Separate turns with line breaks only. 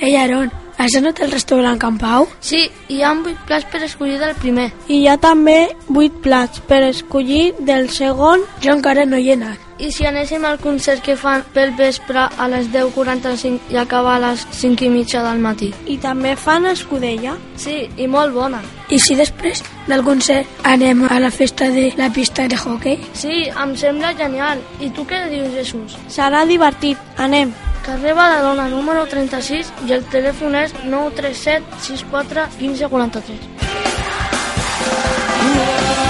Ei, Aaron, has anat al restaurant Can Pau?
Sí, hi ha vuit plats per escollir del primer.
I hi ha també 8 plats per escollir del segon.
Jo encara no hi he anat.
I si anéssim al concert que fan pel vespre a les 10.45 i acaba a les 5 i mitja del matí?
I també fan escudella.
Sí, i molt bona.
I si després del concert anem a la festa de la pista de hockey?
Sí, em sembla genial. I tu què dius, Jesús?
Serà divertit. Anem.
Carrer Badalona, número 36, i el telèfon és 937 64 15 43.